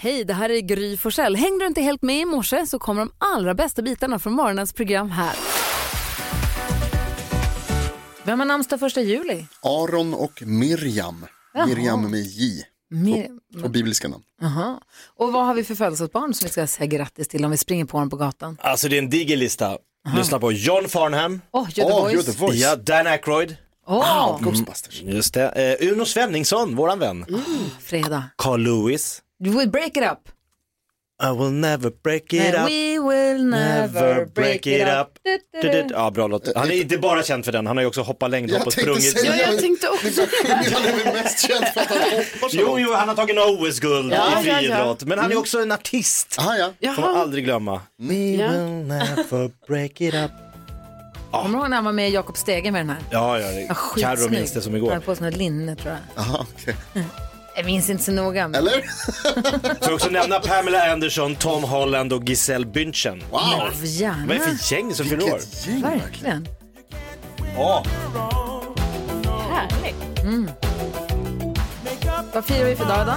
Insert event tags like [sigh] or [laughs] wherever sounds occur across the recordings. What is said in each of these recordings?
Hej, det här är Gry Forssell. Hängde du inte helt med i morse så kommer de allra bästa bitarna från morgonens program här. Vem har namnsdag första juli? Aron och Miriam. Miriam med J. Mir- Och bibliska namn. Aha. Och vad har vi för födelsedagsbarn som vi ska säga grattis till om vi springer på dem på gatan? Alltså det är en diger lista. Lyssna på John Farnham, Åh, oh, Göteborgs. Åh, Göte Ah, Voice. ja, Dan Aykroyd, Åh, [laughs] Ghostbusters. just det, eh, Uno Svenningsson, våran vän, fredag. Carl Lewis, We will break it up. I will never break it up. We will never break it up. Du, du, du. Ja, bra låt. Han är inte bara känd för den, han har ju också hoppat längdhopp och sprungit. Ja, jag tänkte också. Han är väl mest känd för att han hoppar så Jo, långt. jo, han har tagit några OS-guld Ja, i ja, ja. friidrott, men han är också en artist. Aha, ja. Får man aldrig glömma. We Ja. will never break it up. Kommer du ihåg när han var med Jakob Stege med den här? Ja, ja, Ja, Carro skitsnygg. Ah. minns det som Han igår. hade på sig något linne tror jag. Aha, okej. Jag minns inte så noga. Men... Eller? Får jag också nämna Pamela Anderson, Tom Holland och Giselle Bündchen. Wow. Av Vad är hjärna. det för gäng som fyller år? Vilket gäng verkligen. Verkligen. Ja. Vad firar vi för dag då?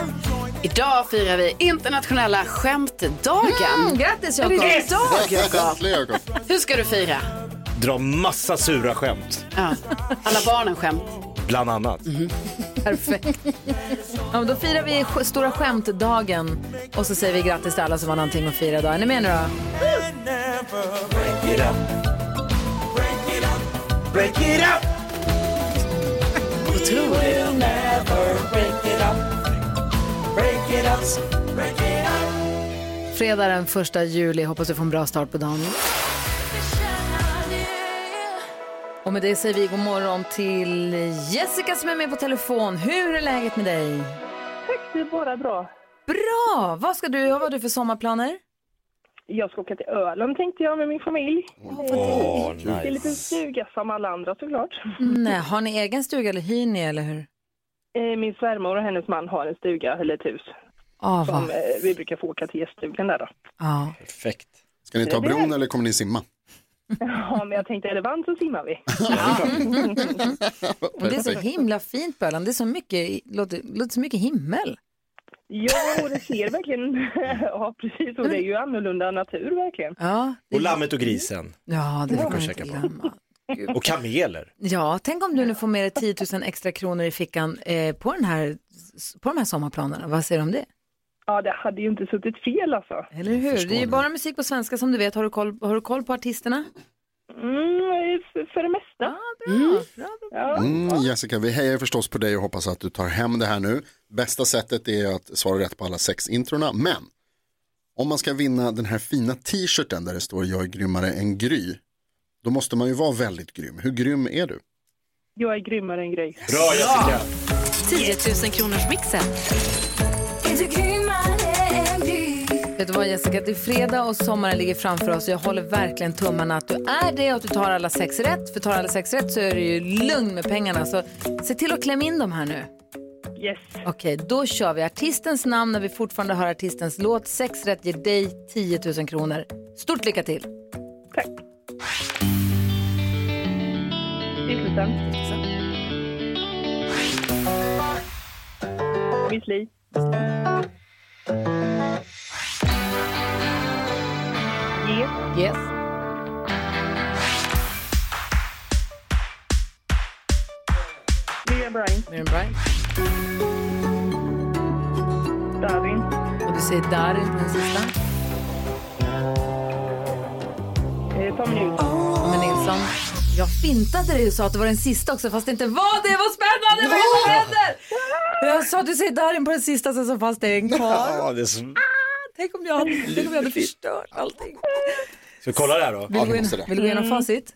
Idag firar vi internationella skämtdagen. Mm, grattis Är det Jakob! idag, Jakob? Verkligen, Jakob. Hur ska du fira? Dra massa sura skämt, Ja. Alla barnen skämt. bland annat. Mhm. Perfekt. Ja, men då firar vi sk- stora skämtdagen och så säger vi grattis till alla som har någonting att fira idag. Är ni med nu då? Break it up. Break it up. Fredag den 1 juli. Hoppas du får en bra start på dagen. Och med det säger vi god morgon till Jessica som är med på telefon. Hur är läget med dig? Det är bara bra. Bra! Vad ska du, vad har du för sommarplaner? Jag ska åka till Öland tänkte jag med min familj. Åh, Det är lite stuga som alla andra såklart. Nej, har ni egen stuga eller hyr ni eller hur? Eh, Min svärmor och hennes man har en stuga eller ett hus. Ah, Som, vad- eh, vi brukar få åka till gäststugan där då. ja. Perfekt. Ska ni ta bron eller kommer ni simma? Ja, men jag tänkte är det varmt så simmar vi. Och det är så himla fint på Öland. Det är så mycket, låter, låter så mycket himmel. Ja, och det ser verkligen... [laughs] Ja, precis. Och det är ju annorlunda natur verkligen. Ja, det, Och lammet och Mm. grisen. ja, det får får man man inte käka på. glömma. Och kameler. Ja, tänk om du nu får med dig 10 000 extra kronor i fickan eh, på, den här, på de här sommarplanerna. Vad säger du om det? Ja, det hade ju inte suttit fel alltså. Eller hur? Det är ju bara musik på svenska som du vet. Har du koll, har du koll på artisterna? Mm, för- för det mesta. Bra, bra, bra. Ja. Mm, Jessica, vi hejar förstås på dig och hoppas att du tar hem det här nu. Bästa sättet är att svara rätt på alla sex introna, men om man ska vinna den här fina t-shirten där det står jag är grymmare än Gry, då måste man ju vara väldigt grym. Hur grym är du? Jag är grymmare än Gry. Bra Jessica. 10 000 kronors mixen. Vet du vad Jessica, det är fredag och sommaren ligger framför oss. Jag håller verkligen tummarna att du är det och att du tar alla sex rätt. För tar du alla sex rätt så är du ju lugn med pengarna. Så se till att klämma in dem här nu. Yes. Okej, då kör vi artistens namn när vi fortfarande hör artistens låt. Sex rätt ger dig 10 000 kronor. Stort lycka till! Tack. Stiftelsen. Mitt liv. Ge. Yes. Miriam Bryant. Miriam Bryant. Darin. Och du säger Darin på den sista. Eh, Tom Nilsson. Tommy Nilsson. Jag fintade dig och sa att det var den sista också fast det inte var det. Vad spännande! Vad är det som händer? Jag sa att du säger Darin på den sista sen så fanns det en kvar. Ja, det är så... Tänk om jag hade, tänk om jag hade förstört allting. Ska vi kolla det här då? Ja, Vill du vi gå måste in- det. vill du gå igenom facit?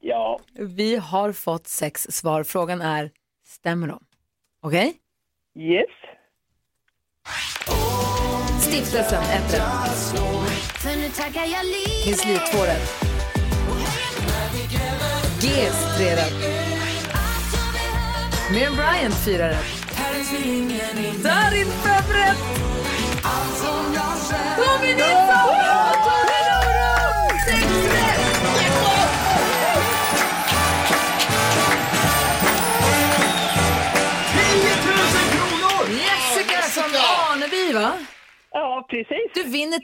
Ja. Vi har fått sex svar. Frågan är, stämmer de? Okej? Yes. Stiftelsen, ett rätt. För nu taggar jag livet. Miss Li, två rätt. GES, tre rätt. Miriam Bryant, fyra rätt. Darin, fem rätt. Tommy Nilsson! Tommy Norum! Sex rätt! Jessica från Aneby, va? Ja, precis. Du vinner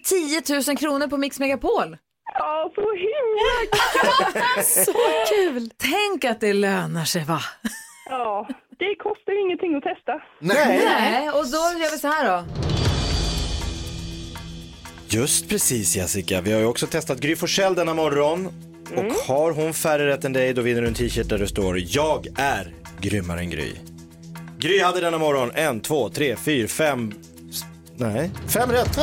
10 000 kronor på Mix Megapol. Ja, så himla Så kul! Tänk att det lönar sig va? Ja, det kostar ju ingenting att testa. Nej. Nej, och då gör vi så här då. Just precis Jessica, vi har ju också testat Gry Forssell denna morgon. Mm. Och har hon färre rätt än dig då vinner du en t-shirt där det står Jag är grymmare än Gry. Gry hade denna morgon en, två, tre, fyra, fem, s- nej, fem rätt.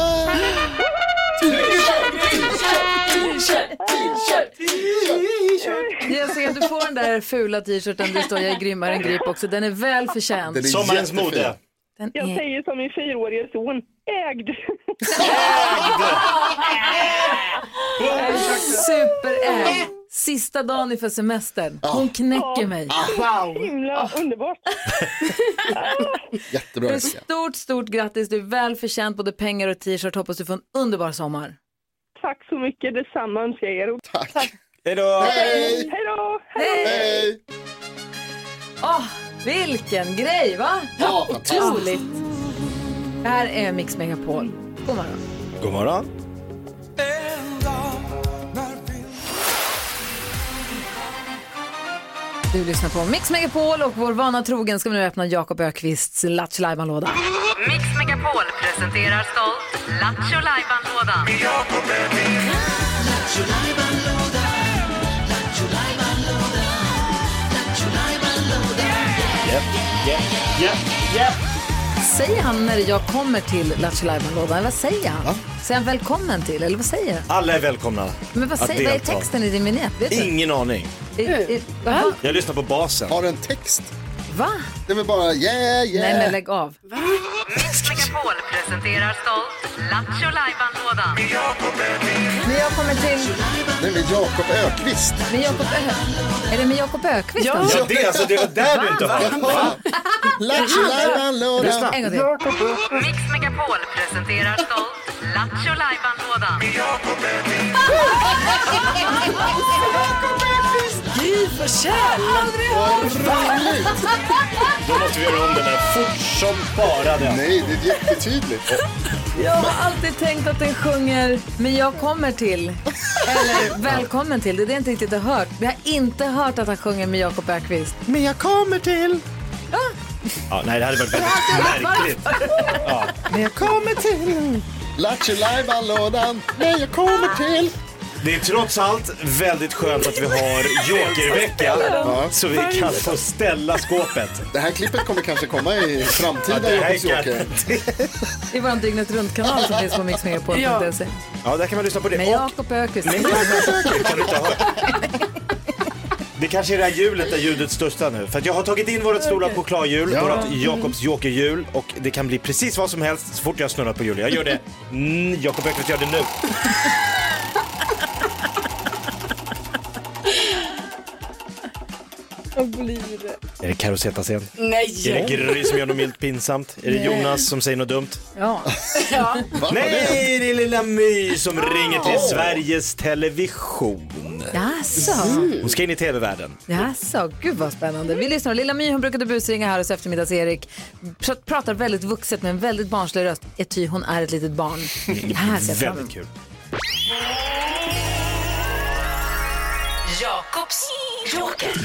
Jessica, du får den där fula t-shirten där det står jag är grymmare än grip också. Den är väl förtjänt. Den är Sommarens jättefin. mode. Den Jag är... säger som min fyraårige son, ägd. [laughs] Superägg. Sista dagen inför semestern. Hon knäcker mig. Himla underbart. Jättebra Du, Jessica. Stort, stort grattis. Du är väl förtjänt både pengar och t-shirt. Hoppas du får en underbar sommar. Tack så mycket, detsamma önskar jag er. Tack. Hejdå! Hej. Hej då! Hej. Åh, vilken grej, va? Ja, Otroligt. Det här är Mix Megapol. God morgon. God morgon. Du lyssnar på Mix Megapol och vår vana trogen ska vi nu öppna Jakob Ökvists Lattjo Lajban-låda. Mix Megapol presenterar stolt Lattjo Lajban-lådan. Säger han när jag kommer till Lattjo Lajban-lådan, eller vad säger han? Säger han välkommen till, eller vad säger han? Alla är välkomna Men vad, att säger, vad är delta. texten i din vignett? Vet du? Ingen aning. I, i, va? Jag lyssnar på basen. Har en text. va? Det är väl bara yeah, yeah. Nej men lägg av. Mix Megapol presenterar stolt Lattjo Lajban-lådan. När jag kommer till, Det är väl Jakob Ökvist. med Jakob Ö- är det med Jakob Ökvist? Ja. han? Ja, det, är alltså, det var där du inte har. Lattjo lajban lådan. En gång till. Mix Megapol presenterar stolt Lattjo Lajban-lådan. Vad roligt. Då måste vi göra om den här fort som bara den. Nej, det är jättetydligt. Jag har alltid tänkt att den sjunger Men jag kommer till. Eller Välkommen till. Det är det jag inte riktigt har hört. Vi har inte hört att han sjunger med Jakob Ökvist. Men jag kommer till... Ja, nej, det hade varit väldigt märkligt. Men jag kommer till... Lattjo lajban lådan. Nej, jag kommer till. Det är trots allt väldigt skönt att vi har jokervecka så vi kan få ställa skåpet. Det här klippet kommer kanske komma i Ja, framtida det här Jakobs kan, Joker. Det är vår dygnet runt-kanal som finns på mixmegapol.se. ja, där kan man lyssna på det. Med Och, Jakob Ökvist. men jag kan du inte ha. Det kanske är det här hjulet där ljudet studsar nu. För att jag har tagit in vårt stora chokladhjul, Ja. vårt Jakobs jokerhjul och det kan bli precis vad som helst så fort jag snurrar på hjulet. Jag gör det. Mm, Jakob Öqvist gör det nu. Är det Carro Zeta-scen? Nej! Är det Gry som gör något milt pinsamt? Är det Jonas som säger något dumt? Ja. Va? Nej, det Ah. är lilla My som ringer till Sveriges Television. Jaså? Hon ska in i tv-världen. Jaså? Gud vad spännande. Vi lyssnar. Lilla My hon brukade busringa här hos eftermiddags-Erik. Pr- Pratar väldigt vuxet med en väldigt barnslig röst. Ety hon är ett litet barn. Det här ser jag fram emot. Väldigt kul. Jakobs joker.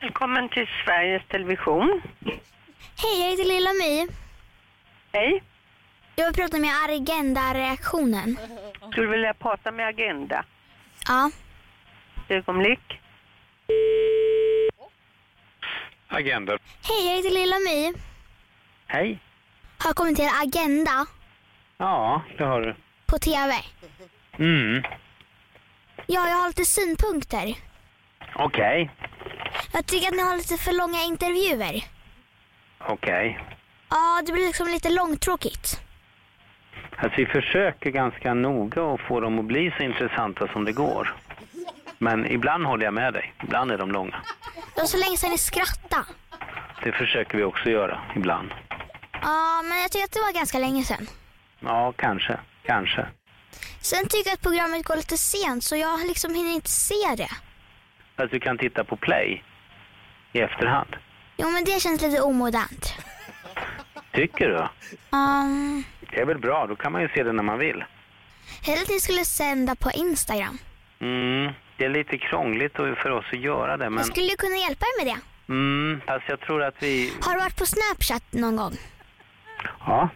Välkommen till Sveriges Television. Hej, jag heter Lilla My. Hej. Jag vill prata med Agenda-reaktionen. Skulle vilja prata med Agenda. Ja. Ett ögonblick. Agenda. Hej, jag heter Lilla My. Hej. Har kommit till Agenda Ja, det har du. på TV. Mm, Ja, jag har lite synpunkter. okej. Jag tycker att ni har lite för långa intervjuer. Okej. Ja, det blir liksom lite långtråkigt. Alltså vi försöker ganska noga att få dem att bli så intressanta som det går. Men ibland håller jag med dig. Ibland är de långa. Det var så länge sedan ni skrattade. Det försöker vi också göra, ibland. Ja, men jag tycker att det var ganska länge sedan. Ja, kanske. Kanske. Sen tycker jag att programmet går lite sent så jag liksom hinner inte se det. Alltså du kan titta på play i efterhand. Jo, men det känns lite omodernt. Tycker du? Um, Det är väl bra, då kan man ju se det när man vill. hellre att ni skulle sända på Instagram. Mm, det är lite krångligt för oss att göra det, men... Jag skulle kunna hjälpa er med det. Mm, fast jag tror att vi... Har du varit på Snapchat någon gång? Ja,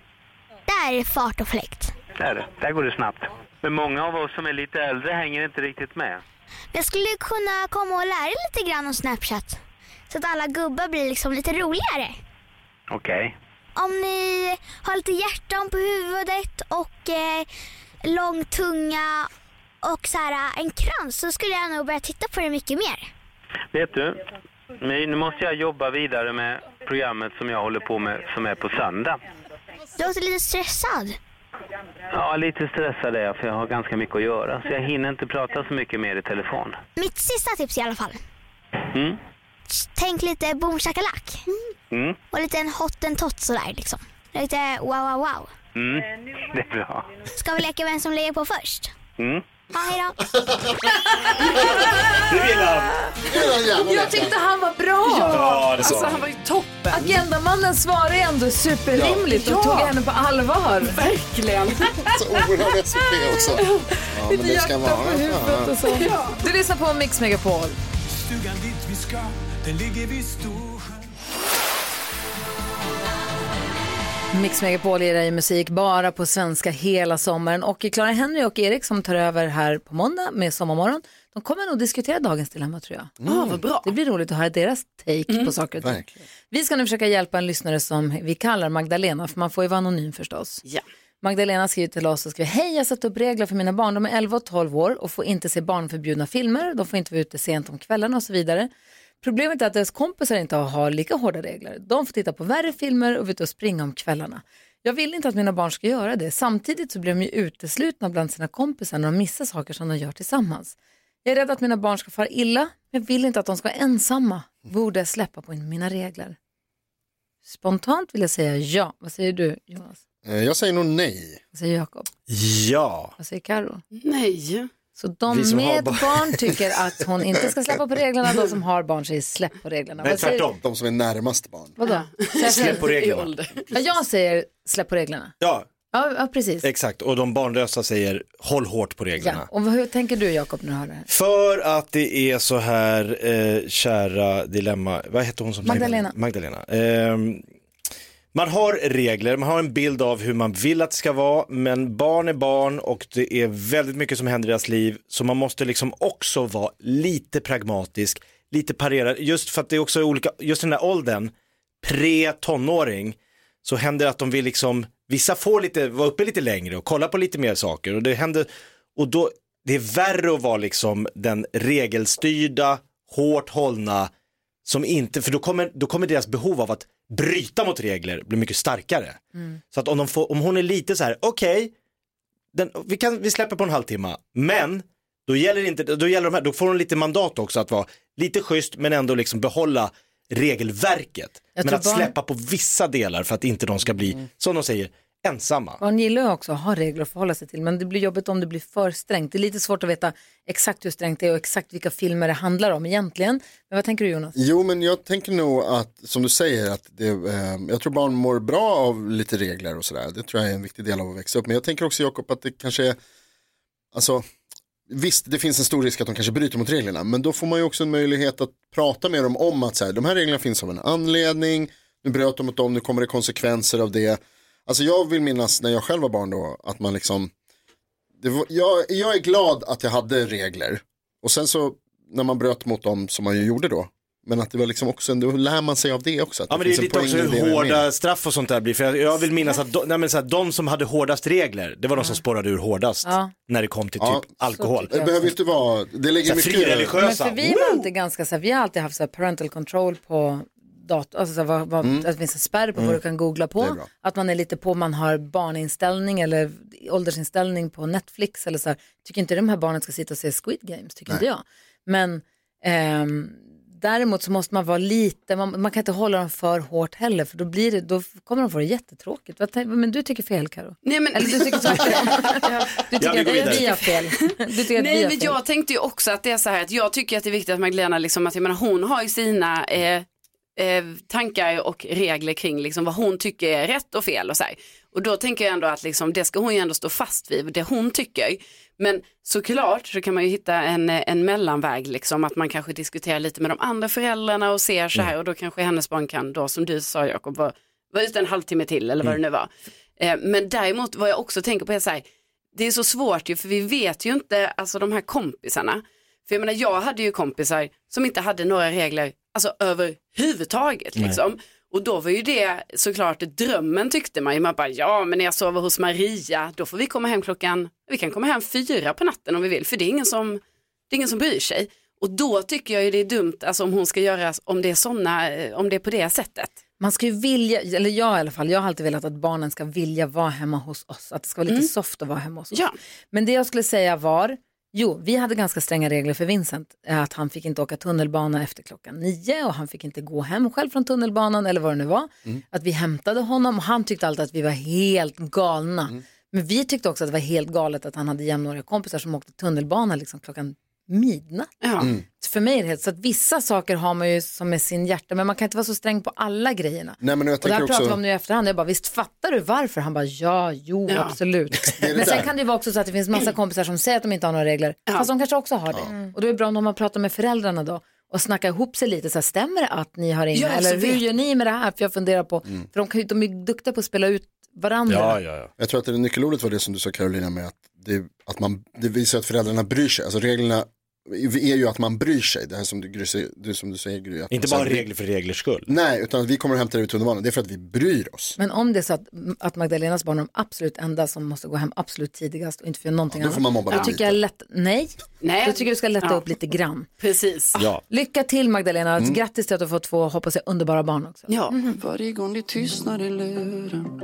Där är det fart och fläkt. där, där går det snabbt. Men många av oss som är lite äldre hänger inte riktigt med. Jag skulle kunna komma och lära er lite grann om Snapchat. Så att alla gubbar blir liksom lite roligare. Okej. Om ni har lite hjärtan på huvudet och eh, lång tunga och så här, eh, en krans så skulle jag nog börja titta på det mycket mer. Vet du, My, nu måste jag jobba vidare med programmet som jag håller på med som är på söndag. Du låter lite stressad. Ja, lite stressad är jag för jag har ganska mycket att göra så jag hinner inte prata så mycket mer i telefon. Mitt sista tips i alla fall. Mm. Tänk lite boom shakalak. Mm. Och lite en hottentott sådär liksom. Lite wow wow wow. Mm. [laughs] Det är bra. Ska vi leka vem som lägger på först? Mm. Ja, hejdå. Det vill han. Jag tyckte han var bra! Ja, det alltså, sa han. han var ju toppen. Agendamannen svarade ändå superrimligt Ja. och tog Ja. henne på allvar. Verkligen. Så oerhörd SCP också. Ja, men det ska vara. och så. Du lyssnar på Mix Megapol. Stugan dit vi ska, den ligger vid Storsjön Mix Megapol ger dig musik bara på svenska hela sommaren. Och Clara Henry och Erik som tar över här på måndag med Sommarmorgon, de kommer nog diskutera dagens dilemma tror jag. Mm. Ah, vad bra. Mm. Det blir roligt att höra deras take på saker och ting. Vi ska nu försöka hjälpa en lyssnare som vi kallar Magdalena, för man får ju vara anonym förstås. Magdalena skriver till oss och skriver, hej jag har satt upp regler för mina barn, de är 11 och 12 år och får inte se barnförbjudna filmer, de får inte vara ute sent om kvällarna och så vidare. Problemet är att deras kompisar inte har lika hårda regler. De får titta på värre filmer och vara ute och springa om kvällarna. Jag vill inte att mina barn ska göra det. Samtidigt så blir de ju uteslutna bland sina kompisar när de missar saker som de gör tillsammans. Jag är rädd att mina barn ska fara illa, men vill inte att de ska vara ensamma. Borde jag släppa på mina regler? Spontant vill jag säga ja. Vad säger du Jonas? Eh, Jag säger nog nej. Vad säger Jakob? Ja. Vad säger Karo? Nej. Alltså, Så de Vi som har med barn- barn tycker att [laughs] hon inte ska släppa på reglerna, de som har barn säger släpp på reglerna. Nej, Vad säger- tvärtom. De som är närmast barn. Vadå? Släpp på reglerna. Ja, jag säger släpp på reglerna. Ja, Ja, ja precis. exakt. Och de barnlösa säger håll hårt på Ja. reglerna. Och vad- hur tänker du Jakob när du hör det här? För att det är så här, eh, kära dilemma, vad heter hon som Magdalena. Magdalena. Ehm, man har regler, man har en bild av hur man vill att det ska vara, men barn är barn och det är väldigt mycket som händer i deras liv, så man måste liksom också vara lite pragmatisk, lite parera, just för att det är också olika, just den där åldern, pre-tonåring, så händer det att de vill liksom, vissa får lite, vara uppe lite längre och kolla på lite mer saker och det händer, och då, det är värre att vara liksom den regelstyrda, hårt hållna, som inte, för då kommer, då kommer deras behov av att bryta mot regler bli mycket starkare. Mm. Så att om, de får, om hon är lite så här, okej, den vi, kan- vi släpper på en halvtimme, men då gäller, det inte, då gäller de här, då får hon lite mandat också att vara lite schysst men ändå liksom behålla regelverket. Jag Men tror att barn- Mm. släppa på vissa delar för att inte de ska bli, som de säger, ensamma. Barn gillar ju också att ha regler att förhålla sig till, men det blir jobbigt om det blir för strängt. Det är lite svårt att veta exakt hur strängt det är och exakt vilka filmer det handlar om egentligen. Men vad tänker du Jonas? Jo, men jag tänker nog att, som du säger, att det, eh, jag tror barn mår bra av lite regler och sådär. Det tror jag är en viktig del av att växa upp. Men jag tänker också, Jakob, att det kanske är, alltså, visst, det finns en stor risk att de kanske bryter mot reglerna, men då får man ju också en möjlighet att prata med dem om att så här, de här reglerna finns av en anledning, nu bröt de mot dem, nu kommer det konsekvenser av det. Alltså jag vill minnas när jag själv var barn då, att man liksom, det var, jag, jag är glad att jag hade regler. Och sen så när man bröt mot dem som man ju gjorde då. Men att det var liksom också, en- då lär man sig av det också. Att Ja men det finns är en lite också poäng i det med. hur hårda straff och sånt där blir. För jag, jag vill minnas att de, nej, men så här, de som hade hårdast regler, det var de som spårade ur hårdast Mm. Ja. när det kom till typ Ja, alkohol. Det Eh, behöver ju inte vara, det Så ligger här, mycket Men frireligiösa. för vi var alltid ganska så här, vi har alltid haft så här parental control på datorn, alltså så här, vad, Mm. vad, att det finns en spärr på vad du kan googla på. Att man är lite på, man har barninställning eller åldersinställning på Netflix eller så här. Tycker inte de här barnen ska sitta och se Squid Games, tycker inte jag. Men ehm, däremot så måste man vara lite, man, man kan inte hålla dem för hårt heller för då, blir det, då kommer de få det jättetråkigt. Vad tänk- Men du tycker fel Karo. Nej, men... Eller du [laughs] tycker tvärtom. Du tycker vi går att vi vidare. har fel. Du tycker att vi Nej men har fel. jag tänkte ju också att det är så här att jag tycker att det är viktigt att Magdalena liksom att jag menar hon har ju sina eh, eh, tankar och regler kring liksom, vad hon tycker är rätt och fel och så här. Och då tänker jag ändå att liksom, det ska hon ju ändå stå fast vid, det hon tycker. Men såklart så kan man ju hitta en, eh, en mellanväg, liksom, att man kanske diskuterar lite med de andra föräldrarna och ser så här Mm. och då kanske hennes barn kan då, som du sa Jakob, vara, vara ute en halvtimme till eller Mm. vad det nu var. Eh, men däremot vad jag också tänker på är så här, det är så svårt ju för vi vet ju inte, alltså de här kompisarna. För jag menar jag hade ju kompisar som inte hade några regler, alltså överhuvudtaget Nej. liksom. Och då var ju det såklart drömmen tyckte man ju. Man bara, ja men när jag sover hos Maria, då får vi komma hem klockan, vi kan komma hem fyra på natten om vi vill, för det är ingen som, det är ingen som bryr sig. Och då tycker jag ju det är dumt, alltså om hon ska göra, om det är sådana, om det är på det sättet. Man ska ju vilja, eller jag i alla fall, jag har alltid velat att barnen ska vilja vara hemma hos oss. Att det ska vara lite soft att vara hemma hos oss. Men det jag skulle säga var, jo, vi hade ganska stränga regler för Vincent. eh, Att han fick inte åka tunnelbana efter klockan nio och han fick inte gå hem själv från tunnelbanan eller vad det nu var. Att vi hämtade honom och han tyckte alltid att vi var helt galna. Men vi tyckte också att det var helt galet att han hade jämnåriga kompisar som åkte tunnelbana liksom klockan midnatt. Mm. För mig är det helt, så att vissa saker har man ju som är sin hjärta, men man kan inte vara så sträng på alla grejerna. Nej, men jag och det här tänker pratar vi också- om nu i efterhand, jag bara visst fattar du varför? Han bara ja, jo, Ja. absolut. Det är det men sen där. kan det ju vara också så att det finns massa kompisar som säger att de inte har några regler, fast de kanske också har det. Mm. Och då är det bra om man pratar med föräldrarna då och snackar ihop sig lite, så här, stämmer det att ni har inga? Ja, så Eller hur vet- gör ni med det här? För jag funderar på, Mm. för de, kan ju, de är ju duktiga på att spela ut varandra. Jag tror att det nyckelordet var det som du sa Carolina med att, det, att man, det visar att föräldrarna bryr sig. Alltså reglerna är ju att man bryr sig. Det här som du, Gry- du, som du säger Gry. att Inte man bara säger- regler för reglers skull. Nej, utan att vi kommer att hämta dig ur tunnelbanan. Det är för att vi bryr oss. Men om det är så att, att Magdalenas barn är de absolut enda som måste gå hem absolut tidigast och inte får göra någonting Ja, då får man mobba annat. Då dem tycker jag lätt, nej, Nej. då tycker jag du ska lätta Ja. upp lite grann. Precis. Ja. Lycka till Magdalena, grattis till att du får två, hoppas jag, underbara barn också. Ja. Varje gång det tystnar i luren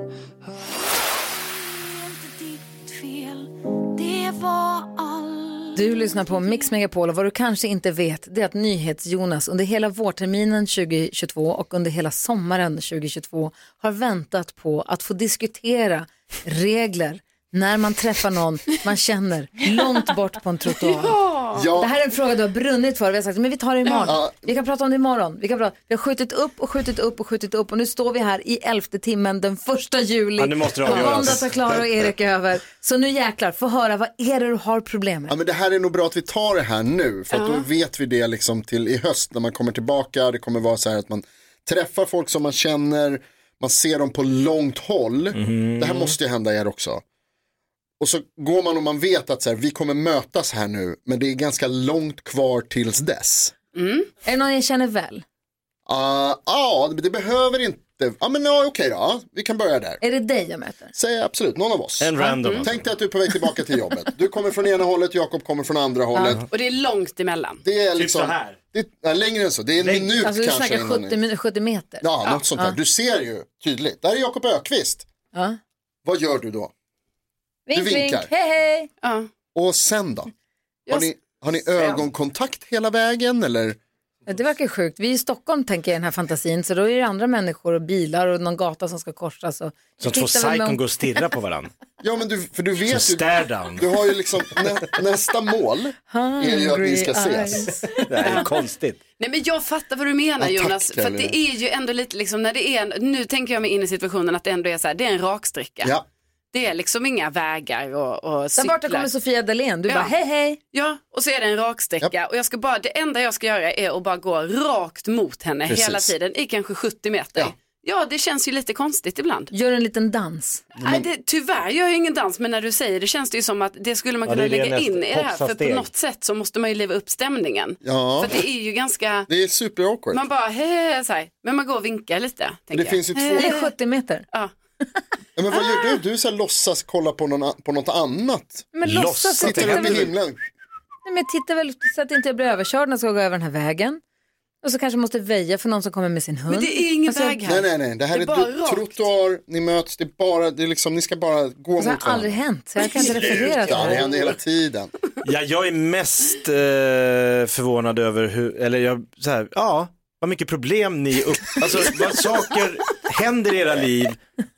Det var allt. Du lyssnar på Mix Megapol och vad du kanske inte vet det är att NyhetsJonas under hela vårterminen 2022 och under hela sommaren 2022 har väntat på att få diskutera regler när man träffar någon man känner långt bort på en trottoar. Ja. Det här är en fråga du har brunnit för. Vi har sagt men vi tar det imorgon. Ja. Vi kan prata om det imorgon. Vi, kan prata. vi har skjutit upp och skjutit upp och skjutit upp och nu står vi här i elfte timmen den första juli. Ja, nu måste det avgöras. Måndag tar Klara och Erik över. Så nu jäklar, få höra vad är det du har problem med? Ja, men det här är nog bra att vi tar det här nu. För att Ja. då vet vi det liksom till i höst när man kommer tillbaka. Det kommer vara så här att man träffar folk som man känner. Man ser dem på långt håll. Det här måste ju hända er också. Och så går man och man vet att så här, vi kommer mötas här nu. Men det är ganska långt kvar tills dess. Är det någon jag känner väl? Ah, Ja, det behöver inte. Ja, men ja, okej då. Vi kan börja där. Är det dig jag möter? Säg absolut, någon av oss. Mm. En random, alltså. Tänk dig att du är på väg tillbaka till jobbet. Du kommer från ena hållet, Jakob kommer från andra hållet. Och det är långt emellan. Det är liksom, Det, ja, längre än så, det är en minut Alltså du kanske. snackar innan 70, ni- min- 70 meter. Ja, något sånt där. Du ser ju tydligt. Där är Jakob Ökvist. Ja. Vad gör du då? Vink, du vinkar. vink, hej hej. Och sen då? Har Jag- ni, har ni sen. ögonkontakt hela vägen eller? Ja, Det verkar sjukt. Vi är i Stockholm tänker jag i den här fantasin, så då är det andra människor och bilar och någon gata som ska korsas. Och... Så Jag att två tittar väl med- psykon går och stirrar [laughs] på varandra. Ja, men du, för du vet Så ju. stare down. Du har ju liksom nä, nästa mål är ju att ni ska Hungry eyes. ses. Det här är konstigt. Nej men jag fattar vad du menar Ja, tack, Jonas. För att det Caroline. är ju ändå lite liksom när det är, en, nu tänker jag mig in i situationen att det ändå är så här, det är en raksträcka. Ja. Det är liksom inga vägar och, och Där cyklar. borta kommer Sofia Dalén, du Ja. bara hej hej. Ja, och så är det en raksträcka och jag ska bara, det enda jag ska göra är att bara gå rakt mot henne Precis. hela tiden i kanske 70 meter. Ja. det känns ju lite konstigt ibland. Gör en liten dans. Nej, det, tyvärr gör jag ingen dans, men när du säger det känns det ju som att det skulle man Ja, kunna det är det lägga in nästa- i det här. För på hoppsasteg. något sätt så måste man ju leva upp stämningen. Ja. För det är ju ganska... Det är super awkward. Man bara, hej, så här. Men man går och vinkar lite. Men det tänker finns ju jag. två- Hej. Det är 70 meter. Ja. Ja, men vad gör du? Du så här låtsas kolla på, någon, a- på något annat. Men låtsas, Låtsas? det Tittar upp händer i väl- himlen. Nej, men jag tittar väl så att inte jag blir överkörd när jag ska gå över den här vägen. Och så kanske jag måste väja för någon som kommer med sin hund. Alltså, Nej, nej, nej. Det här är, du, trottoar, ni möts, det är bara, det är liksom, ni ska bara gå mot Så har aldrig hänt, så jag kan inte referera till Ja, det händer hela [laughs] tiden. Ja, jag är mest eh, förvånad över hur, eller jag, så här, ja, vad mycket problem ni upp, alltså vad saker händer i era liv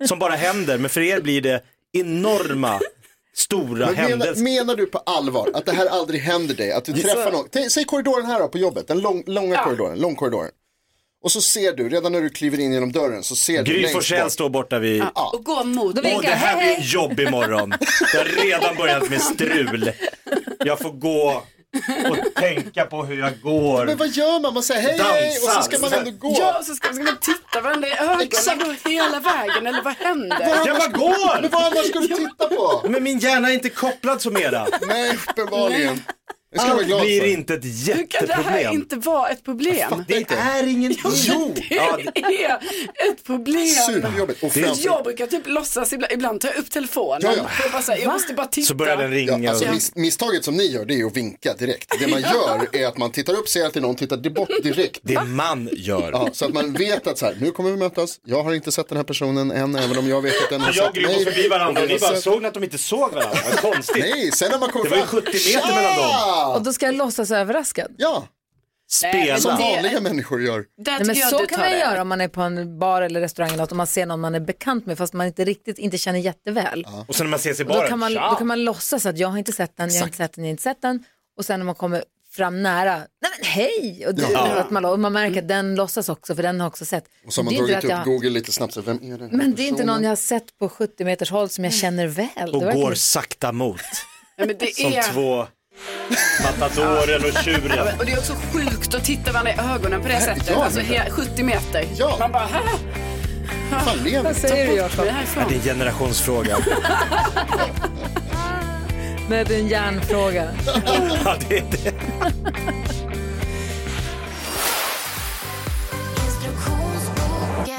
som bara händer, men för er blir det enorma, stora Men menar, händelser. menar du på allvar att det här aldrig händer dig? Att du Ja. träffar någon, Tänk- säg korridoren här då på jobbet, den lång, långa korridoren, långkorridoren. Och så ser du, redan när du kliver in genom dörren så ser du Gry längst Forssell bort- står borta vid... Ja. Och gå mot Åh, det här blir jobb imorgon. Det har redan börjat med strul. Jag får gå och tänka på hur jag går. Men vad gör man? Man säger hej hej och så ska man ändå gå. Ja, och så ska, ska man titta varandra i ögonen Exakt. Exakt. hela vägen eller vad händer? Jag bara går! Men vad annars [laughs] ska du titta på? Men min hjärna är inte kopplad som era. Nej, uppenbarligen. Det ska jag vara Allt glad blir för. inte ett Hur kan det här jätteproblem. inte vara ett problem? Det är ingen Jo, Ja, [laughs] det är ett problem. Superjobbigt. Och framför- jag brukar typ låtsas ibland, ibland ta upp telefonen Ja, ja. för att bara säga, jag måste bara titta. Ja, alltså, Ja. mis misstaget som ni gör det är att vinka direkt. Det [laughs] man Ja. gör är att man tittar upp, ser att det är någon, tittar di- bort direkt. Det man gör. Ja, så att man vet att så här, nu kommer vi mötas, jag har inte sett den här personen än, även om jag vet att den har Jag och sett Gry går förbi varandra och vi ni har bara sett- såg ni att de inte såg varandra? Vad konstigt. alltså- Nej, sen när man kommer Det var ju fram. 70 meter mellan dem. Och då ska jag låtsas överraskad? Ja. Spela. Som Det- vanliga människor gör. Nej, men tycker jag så du kan tar man ju det. göra om man är på en bar eller restaurang eller att om man ser någon man är bekant med fast man inte riktigt inte känner jätteväl. Och sen när man ses i Och då, baren. kan man, tja. då kan man låtsas att jag har inte sett den, jag har inte sett den, jag har inte sett den. Och sen när man kommer fram nära, nej men hej! Och, det, Ja. att man, och man märker att den låtsas också för den har också sett. Och så har man Det är inte dragit upp att jag- Google lite snabbt, så vem är den här Men det är inte personen? någon jag har sett på 70 meters håll som jag känner väl. Och Det verkar- går sakta mot. Ja, men det Som är... två matadoren och Ja, tjuren. men- Och det är också sjukt att titta varandra i ögonen på det sättet. ja, alltså men- he- 70 meter. Man bara, "Haha." Vad säger du Jakob? Ja, det är en generationsfråga. Nej, det är en hjärnfråga. ja, det är det.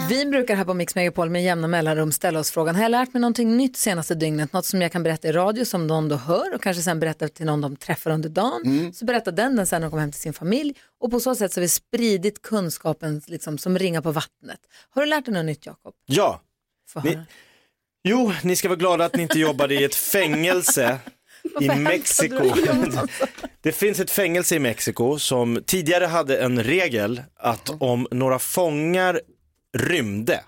Vi brukar här på Mix Megapol med jämna mellanrum ställa oss frågan, har jag lärt mig någonting nytt senaste dygnet? Något som jag kan berätta i radio som någon då hör och kanske sen berättar till någon de träffar under dagen. Mm. Så berättar den den sen när de kommer hem till sin familj. Och på så sätt så har vi spridit kunskapen liksom, som ringar på vattnet. Har du lärt dig något nytt Jakob? Ja. Få Ni... höra. Jo, ni ska vara glada att ni inte jobbade i ett fängelse i Varför Mexiko. hämtade du den? [laughs] Det finns ett fängelse i Mexiko som tidigare hade en regel att om några fångar rymde,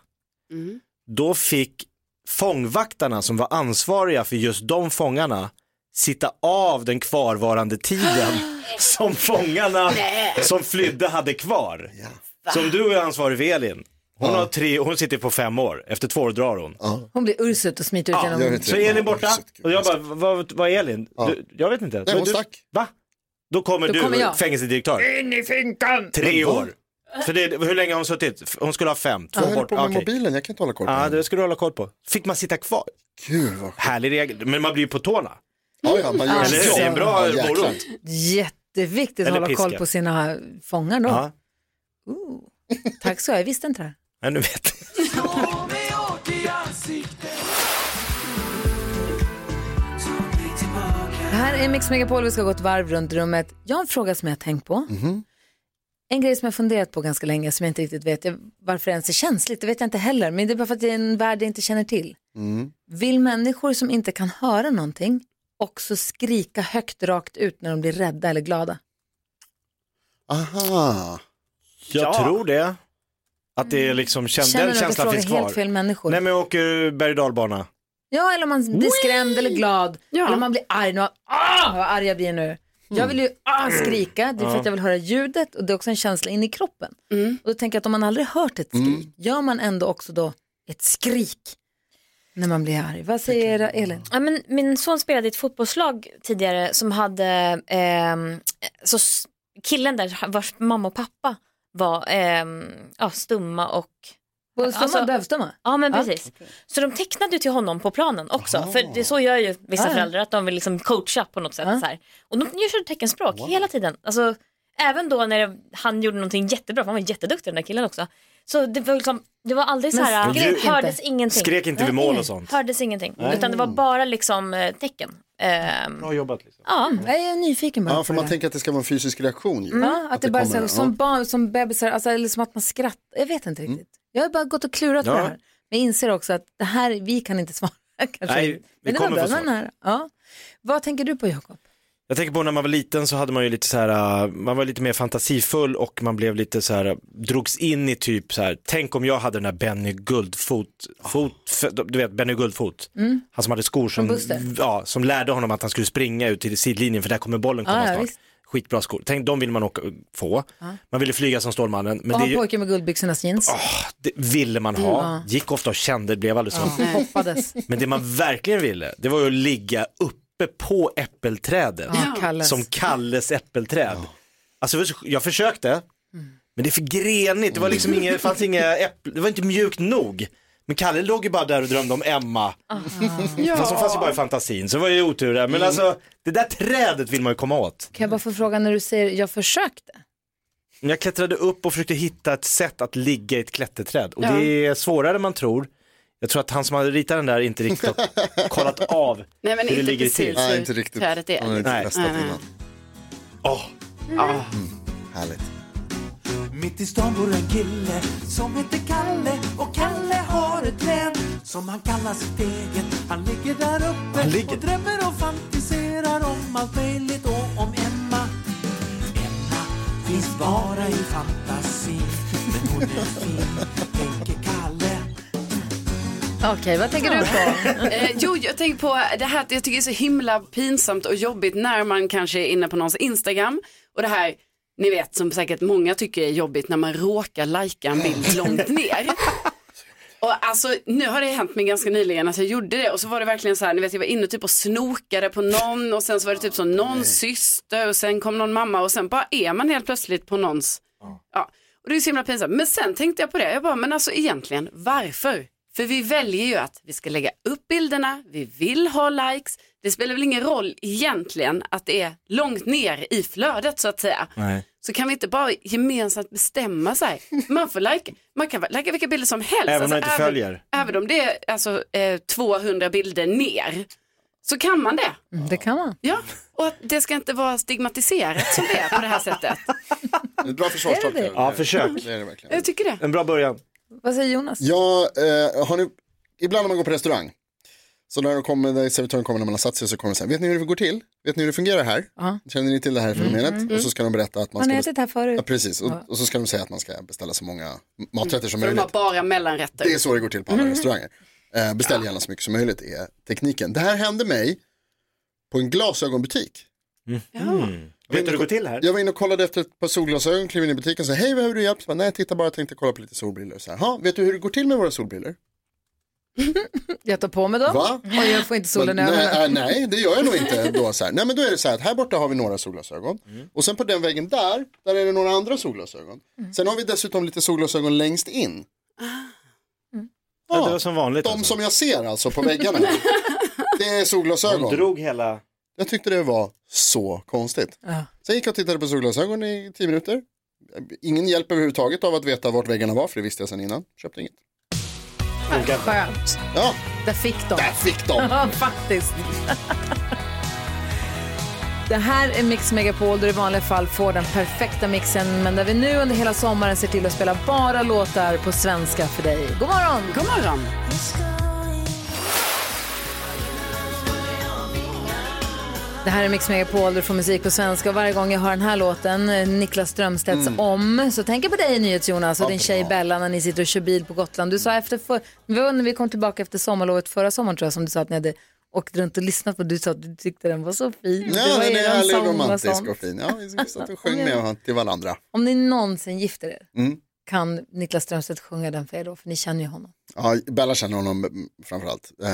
då fick fångvaktarna som var ansvariga för just de fångarna sitta av den kvarvarande tiden som fångarna Nej. som flydde hade kvar. Som du är ansvarig för Elin. Hon, har tre, hon sitter på fem år, efter två år drar hon. Hon blir ursut och smiter ut Ja, genom... så är Elin borta och jag bara, vad, vad är Elin? Du, jag vet inte. Men hon du, stack. Va? Då kommer Då du, kommer jag. fängelsedirektör. In i finkan! Tre år. För det, hur länge har hon suttit? F- Hon skulle ha fem. Två Jag höll bort. på med okej. mobilen, jag kan inte hålla koll på Ja, den. det ska du hålla koll på. Fick man sitta kvar? Gud vad Härlig regel, men man blir ju på tårna. Ja, ja, man gör Eller hur? så. Det är en bra Ja, jäklar. morot. Jätteviktigt att Eller hålla koll piska. på sina fångar då. Ja. Ooh. Tack så jag, jag visste inte det här. Ja, nu vet Det här är Mix Megapol, vi ska gå ett varv runt rummet. Jag har en fråga som jag har tänkt på. Mhm. En grej som jag har funderat på ganska länge som jag inte riktigt vet jag- varför det ens är känsligt, det vet jag inte heller. Men det är bara för att det är en värld jag inte känner till. Mm. Vill människor som inte kan höra någonting också skrika högt rakt ut när de blir rädda eller glada? Aha. Jag tror det. Att det är liksom, kän- Mm. Känner den du att du känslan frågar finns kvar. helt fel människor? Nej men jag åker berg och dalbana. Ja, eller om man blir skrämd eller glad. Ja. Eller om man blir arg. Man, ah, vad arg jag blir nu. Jag vill ju ah, skrika, det är för Ja. att jag vill höra ljudet och det är också en känsla in i kroppen. Och då tänker jag att om man aldrig hört ett skrik, gör man ändå också då ett skrik när man blir arg? Vad säger Elin? Ja, men min son spelade i ett fotbollslag tidigare som hade, ehm, så s- killen där vars mamma och pappa var ehm, ja, stumma och Både stumma och dövstumma? Ja men Ja. precis. Så de tecknade ju till honom på planen också. Aha. För det, så gör ju vissa Ja, ja. föräldrar att de vill liksom coacha på något sätt. Så här. Och de gör teckenspråk hela tiden. Alltså, även då när det, han gjorde någonting jättebra, för han var jätteduktig den där killen också. Så det var, liksom, det var aldrig så Men här, skrek inte. hördes ingenting. Skrek inte vid Nej, mål och sånt. Hördes ingenting. Nej. Utan det var bara liksom eh, tecken. Ehm, Bra jobbat. Liksom. ja. Jag är nyfiken bara Ja, på för det man där. tänker att det ska vara en fysisk reaktion. Ju. Mm. Ja, att det bara så här, kommer, som ja. barn, som bebisar, alltså, eller som att man skrattar. Jag vet inte riktigt. Jag har bara gått och klurat på Ja. det här. Men jag inser också att det här, vi kan inte svara. [laughs] Kanske. Nej, vi men det var kommer bra få den svar. här. Ja. Vad tänker du på Jakob? Jag tänker på när man var liten så hade man ju lite så här, uh, man var lite mer fantasifull och man blev lite så här, uh, drogs in i typ så här, tänk om jag hade den där Benny Guldfot, fot, f- du vet Benny Guldfot, Ah. Mm. han som hade skor Från som, Buster. ja, som lärde honom att han skulle springa ut till sidlinjen för där kommer bollen komma Ah, Ja, ja, snart. visst. Ah. skitbra skor. Tänk, de vill man åka, få. Ja. Man ville flyga som Stålmannen, men och det, ha är ju- pojken med guldbyxornas jeans. det ville man ha. Ah, Ja. Ah. Gick ofta och kände, det blev aldrig så. [laughs] Ja, hoppades. Men det man verkligen ville, det var ju att ligga uppe på äppelträdet. Ja, Kalles. Som Kalles äppelträd. Alltså jag försökte, men det är för grenigt. Det var liksom inga, det fanns inga äpplen, det var inte mjukt nog. Men Kalle låg ju bara där och drömde om Emma. Ja. Fast hon fanns ju bara i fantasin, så det var ju otur där. Men Mm. alltså, det där trädet vill man ju komma åt. Kan jag bara få fråga när du säger jag försökte? Men Jag klättrade upp och försökte hitta ett sätt att ligga i ett klätterträd och Ja. det är svårare än man tror. Jag tror att han som hade ritat den där inte riktigt [laughs] har kollat av Nej, men hur det inte ligger precis till. hur Nej, inte riktigt. trädet är. Han har inte testat Nej. innan. Åh. Ja. [laughs] Härligt. Mitt i stan bor en kille som heter Kalle och Kalle har ett län som han kallar sitt eget. Han ligger där uppe Han ligger. och drömmer och fantiserar om allt möjligt och om Emma. Emma finns bara i fantasin, men hon är fin, tänker Kalle. Okej, vad tänker du på? Eh, jo, jag tänker på det här att jag tycker det är så himla pinsamt och jobbigt när man kanske är inne på någons Instagram och det här, ni vet som säkert många tycker är jobbigt när man råkar lajka en bild långt ner. Och alltså nu har det hänt mig ganska nyligen att jag gjorde det och så var det verkligen så här, ni vet jag var inne typ och snokade på någon och sen så var det typ så någon syster och sen kom någon mamma och sen bara är man helt plötsligt på någons, ja. Och det är så himla pinsamt. Men sen tänkte jag på det, jag bara men alltså egentligen varför? För vi väljer ju att vi ska lägga upp bilderna, vi vill ha likes, det spelar väl ingen roll egentligen att det är långt ner i flödet så att säga Nej. så kan vi inte bara gemensamt bestämma sig. Man får like, man kan like vilka bilder som helst. Alltså, Även om man inte även, följer. Även om det är alltså, eh, 200 bilder ner så kan man det. Mm, Det kan man. Ja, och att det ska inte vara stigmatiserat som det är på det här sättet. Ett bra försvarstal. Är det det? Ja, försök. Det är det verkligen. Jag tycker det. En bra början. Vad säger Jonas? Ja, eh, har ni, ibland när man går på restaurang, så när, de kommer, när servitören kommer när man har satt sig så kommer de säga, vet ni hur det går till? Vet ni hur det fungerar här? Känner ni till det här fenomenet? Mm. Och så ska de berätta att man Har ni ska... ätit här förut? Ja, precis. Och, Ja. och så ska de säga att man ska beställa så många maträtter som Mm. så de möjligt. har bara mellanrätter. Det är så det går till på alla Mm. restauranger. Eh, beställ gärna så mycket som möjligt är tekniken. Det här hände mig på en glasögonbutik. Jag var Vet inne du hur det går och- till här? Jag var inne och kollade efter ett par solglasögon, klev in i butiken och sa hej, behöver du hjälp? Så bara, Nej, titta bara, jag tänkte kolla på lite solbrillor. Så här, "Ha, vet du hur det går till med våra solbrillor? Jag tar på mig dem Va? och jag får inte solen i Men, nej, ögonen. äh, nej, det gör jag nog inte. Då, så här. Nej, men då är det så här att här borta har vi några solglasögon Mm. och sen på den väggen där, där är det några andra solglasögon. Mm. Sen har vi dessutom lite solglasögon längst in. Mm. Ja, det var som vanligt. De som jag ser alltså på väggarna. [laughs] här. det är solglasögon. De drog hela... Jag tyckte det var så konstigt. Ja. Sen gick jag och tittade på solglasögon i tio minuter. Ingen hjälp överhuvudtaget av att veta vart väggarna var, för det visste jag sedan innan. Köpte inget. Skönt. Ja. Där fick de. Där fick de. ja, faktiskt. Det här är Mix Megapol där du i vanliga fall får den perfekta mixen men där vi nu under hela sommaren ser till att spela bara låtar på svenska för dig. God morgon! God morgon! Det här är Mix Megapol, du får musik på svenska och varje gång jag hör den här låten, eh, Niklas Strömstedts Mm. Om, så tänker jag på dig NyhetsJonas och din tjej Bella när ni sitter och kör bil på Gotland. Du sa efter, för, vi var när vi kom tillbaka efter sommarlovet förra sommaren tror jag som du sa att ni hade åkt runt och lyssnat på, du sa att du tyckte den var så fin. Ja, Det var den är er härlig, sång och romantisk sånt. och fin. Ja, vi satt och sjöng med till varandra. Om ni någonsin gifter er, Mm. kan Niklas Strömstedt sjunga den för er då? För ni känner ju honom. Ja, Bella känner honom mm, framförallt. Uh,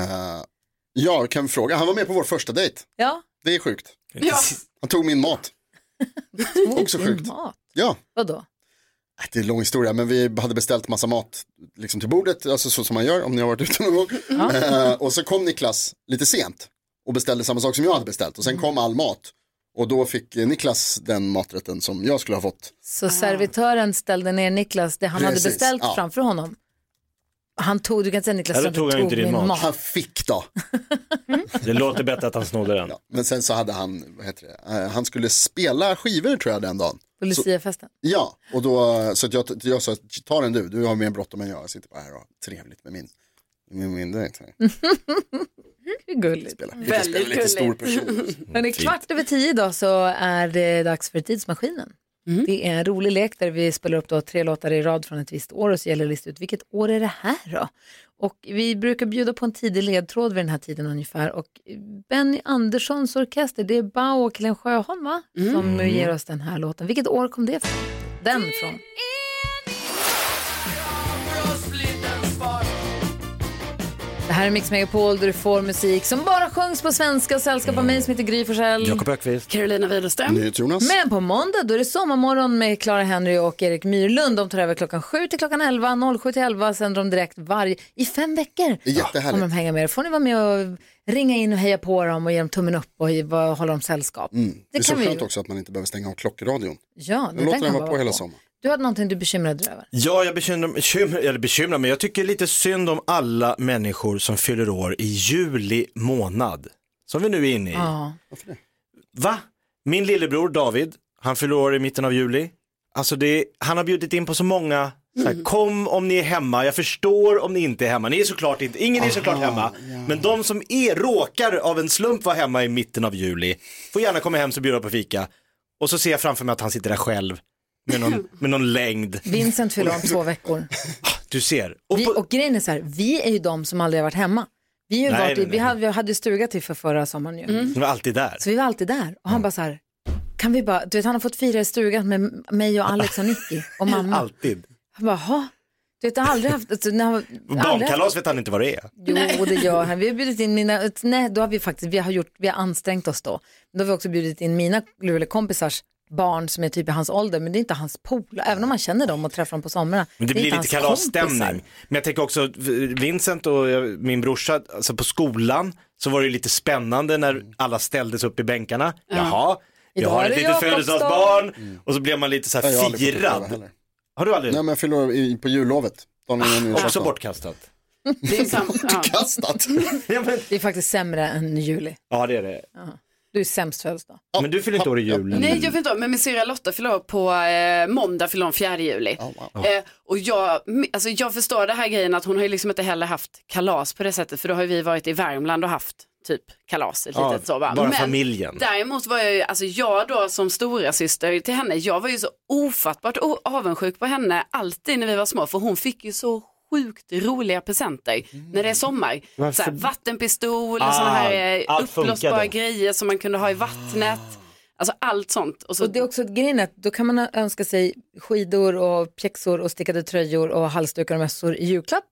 jag kan fråga, han var med på vår första dejt. Ja. Det är sjukt. Ja. Han tog [laughs] min mat. Också sjukt. Mat. Ja, Vadå? Äh, det är en lång historia, men vi hade beställt massa mat liksom till bordet, alltså så som man gör om ni har varit [laughs] ute någon gång. Eh, och så kom Niklas lite sent och beställde samma sak som jag hade beställt och sen kom all mat. Och då fick eh, Niklas den maträtten som jag skulle ha fått. Så servitören ställde ner Niklas, det han Precis, hade beställt ja. framför honom. Han tog, du kan inte säga Niklas Eller tog han inte din min mat? Han fick då. Det låter bättre att han snodde den. Men sen så hade han, vad heter det, eh, han skulle spela skivor tror jag den dagen. På Så- Luciafesten. Ja, och då, så att jag, jag sa, ta den du, du har mer bråttom än jag, jag sitter bara här och har trevligt med min, med min dejt. Det är gulligt. Mm. Väldigt spela lite gulligt. stor person. Men det är kvart över tio idag så är det dags för Tidsmaskinen. Det är en rolig lek där vi spelar upp då tre låtar i rad från ett visst år och så gäller det att lista ut vilket år är det här då? Och vi brukar bjuda på en tidig ledtråd vid den här tiden ungefär. Och Benny Anderssons orkester, det är Bao och Helen Sjöholm va? Som nu ger oss den här låten. Vilket år kom det från? Den från? Det här är Mix Megapol där du får musik som bara sjungs på svenska och sällskap av mig som heter Gry Forssell. Öqvist. Carolina Widerström. Men på måndag då är det sommarmorgon med Clara Henry och Erik Myrlund. De tar över klockan 7 till klockan 11, 07 till 11 sänder de direkt varje, i fem veckor. Det är jättehärligt. Kommer de hänga med er. får ni vara med och ringa in och heja på dem och ge dem tummen upp och ge- vad- hålla dem sällskap. Mm. Det, är så vi skönt ju- också att man inte behöver stänga av klockradion. Ja, Nu låter den vara på hela sommaren. sommaren. Du hade någonting du bekymrade dig över. Ja, jag bekymrar, bekymrar, eller bekymrar mig. Jag tycker lite synd om alla människor som fyller år i juli månad. Som vi nu är Mm. inne i. Ja. Va? Min lillebror David, han fyller år i mitten av juli. Alltså det, han har bjudit in på så många, så Mm. här, kom om ni är hemma, jag förstår om ni inte är hemma. Ni är såklart inte, ingen är såklart hemma. Men de som är, råkar av en slump vara hemma i mitten av juli, får gärna komma hem så bjuder jag på fika. Och så ser jag framför mig att han sitter där själv [laughs] med någon, med någon längd. Vincent fyller [laughs] om två veckor. Du ser, Vi, och grejen är så här, vi är ju de som aldrig har varit hemma. Vi, har ju Nej, varit i, nej, vi, nej. hade, vi hade ju stuga till för förra sommaren ju. Mm. de är alltid där. Så vi var alltid där och han bara så här, kan vi bara, du vet han har fått fira i stugan med mig och Alex och Nicky [laughs] och mamma. Alltid. Han bara, "Ha?" du vet jag har aldrig haft, alltså, när han, aldrig haft Barnkalas vet han inte vad det är. Jo, det gör han. Vi har bjudit in mina, nej, då har vi faktiskt, vi har gjort, vi har ansträngt oss då. Men Då har vi också bjudit in mina Luleå-kompisars barn som är typ i hans ålder, men det är inte hans polare, även om man känner dem och träffar dem på somrarna. Men det är blir inte lite hans kompisar. kalasstämning. Men jag tänker också, Vincent och jag- min brorsa, alltså på skolan så var det ju lite spännande när alla ställdes upp i bänkarna. Ja. Jaha, jag Idag har är ett det litet Jakobsson. födelsedagsbarn. Och så blev man lite så Nej, jag har här aldrig fått uppleva firad. heller. Har du aldrig? Nej, men jag fyller år i- på jullovet. Dagen innan också nyårsafton. bortkastat. [laughs] Det är [laughs] sant. Bortkastat. Det är faktiskt sämre än juli. Ja det är det. Du är sämst födelsedag. Men du fyller inte år i jul? Nej, jag vet inte, men min syrra Lotta fyller år på eh, måndag, fyller hon 4 juli. wow. Eh, och jag, alltså, jag förstår det här grejen att hon har ju liksom inte heller haft kalas på det sättet, för då har ju vi varit i Värmland och haft typ kalas, ett Ja, litet så va. bara men familjen. Däremot var jag ju, alltså jag då som stora syster till henne, jag var ju så ofattbart o- avundsjuk på henne alltid när vi var små, för hon fick ju så sjukt roliga presenter när det är sommar. Varför? Så här, vattenpistol, Ah, och sådana här eh, allt funkade. uppblåsbara grejer som man kunde ha i vattnet. Alltså allt sånt. Och så, Och det är också grejen är att då kan man önska sig skidor och pjäxor och stickade tröjor och halsdukar och mössor i julklapp.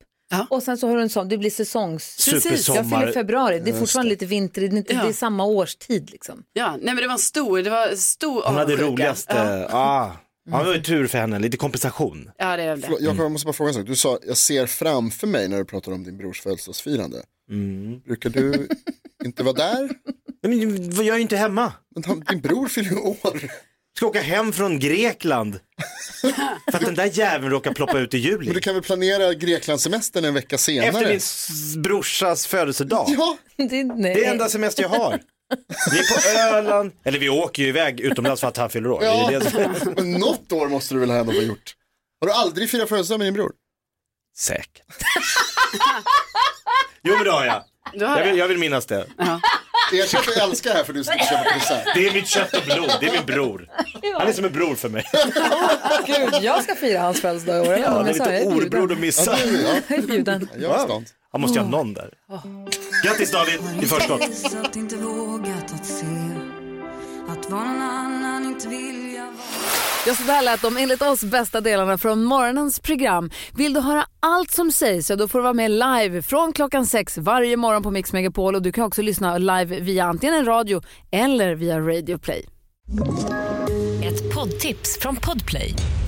Och sen så har du en sån, det blir säsongs... Supersommar. Jag fyller i februari, det är Just fortfarande det. lite vinter, det är, inte, Ja. det är samma årstid liksom. [laughs] Ja, nej men det var en stor, det var en stor Hon hade det avundsjuka. roligaste, Ja, ja. Ah. Ja, det var ju tur för henne, lite kompensation. ja det är det. Förlåt, jag måste bara fråga en sak. Du sa, jag ser framför mig när du pratar om din brors födelsedagsfirande. Mm. Brukar [laughs] du inte vara där? Nej, men jag är inte hemma. Men han- din bror fyller ju år. Ska åka hem från Grekland. för att den där jäveln råkar ploppa ut i juli. Men du kan väl planera Greklandssemestern en vecka senare? Efter min s- brorsas födelsedag. Ja. Det, nej. Det är enda semester jag har. Vi är på Öland, eller vi åker ju iväg utomlands för att han fyller år. Det är Ja. ju det som... [laughs] Men något år måste du väl ändå ha gjort? Har du aldrig firat födelsedag med din bror? Säkert. Jo men det har jag. Du har jag, vill, det. jag vill minnas det. Erkänn att jag älskar det här för du ska köpa [laughs] present. Det är mitt kött och blod, det är min bror. Han är som en bror för mig. Gud, [laughs] jag ska fira hans födelsedag i år. eller? Ja, det är Men så lite jag bjuden. orbror att missa. Ja, du, ja. Jag är bjuden. Ja. Han måste ju ha någon där. Grattis David i förskott. Att inte vågat att se Att vara någon annan inte vilja Ja, så där lät de enligt oss bästa delarna från morgonens program. Vill du höra allt som sägs, ja, då får du vara med live från klockan sex varje morgon på Mix Megapol. Och du kan också lyssna live via antingen en radio eller via Radio Play. Ett poddtips från Podplay.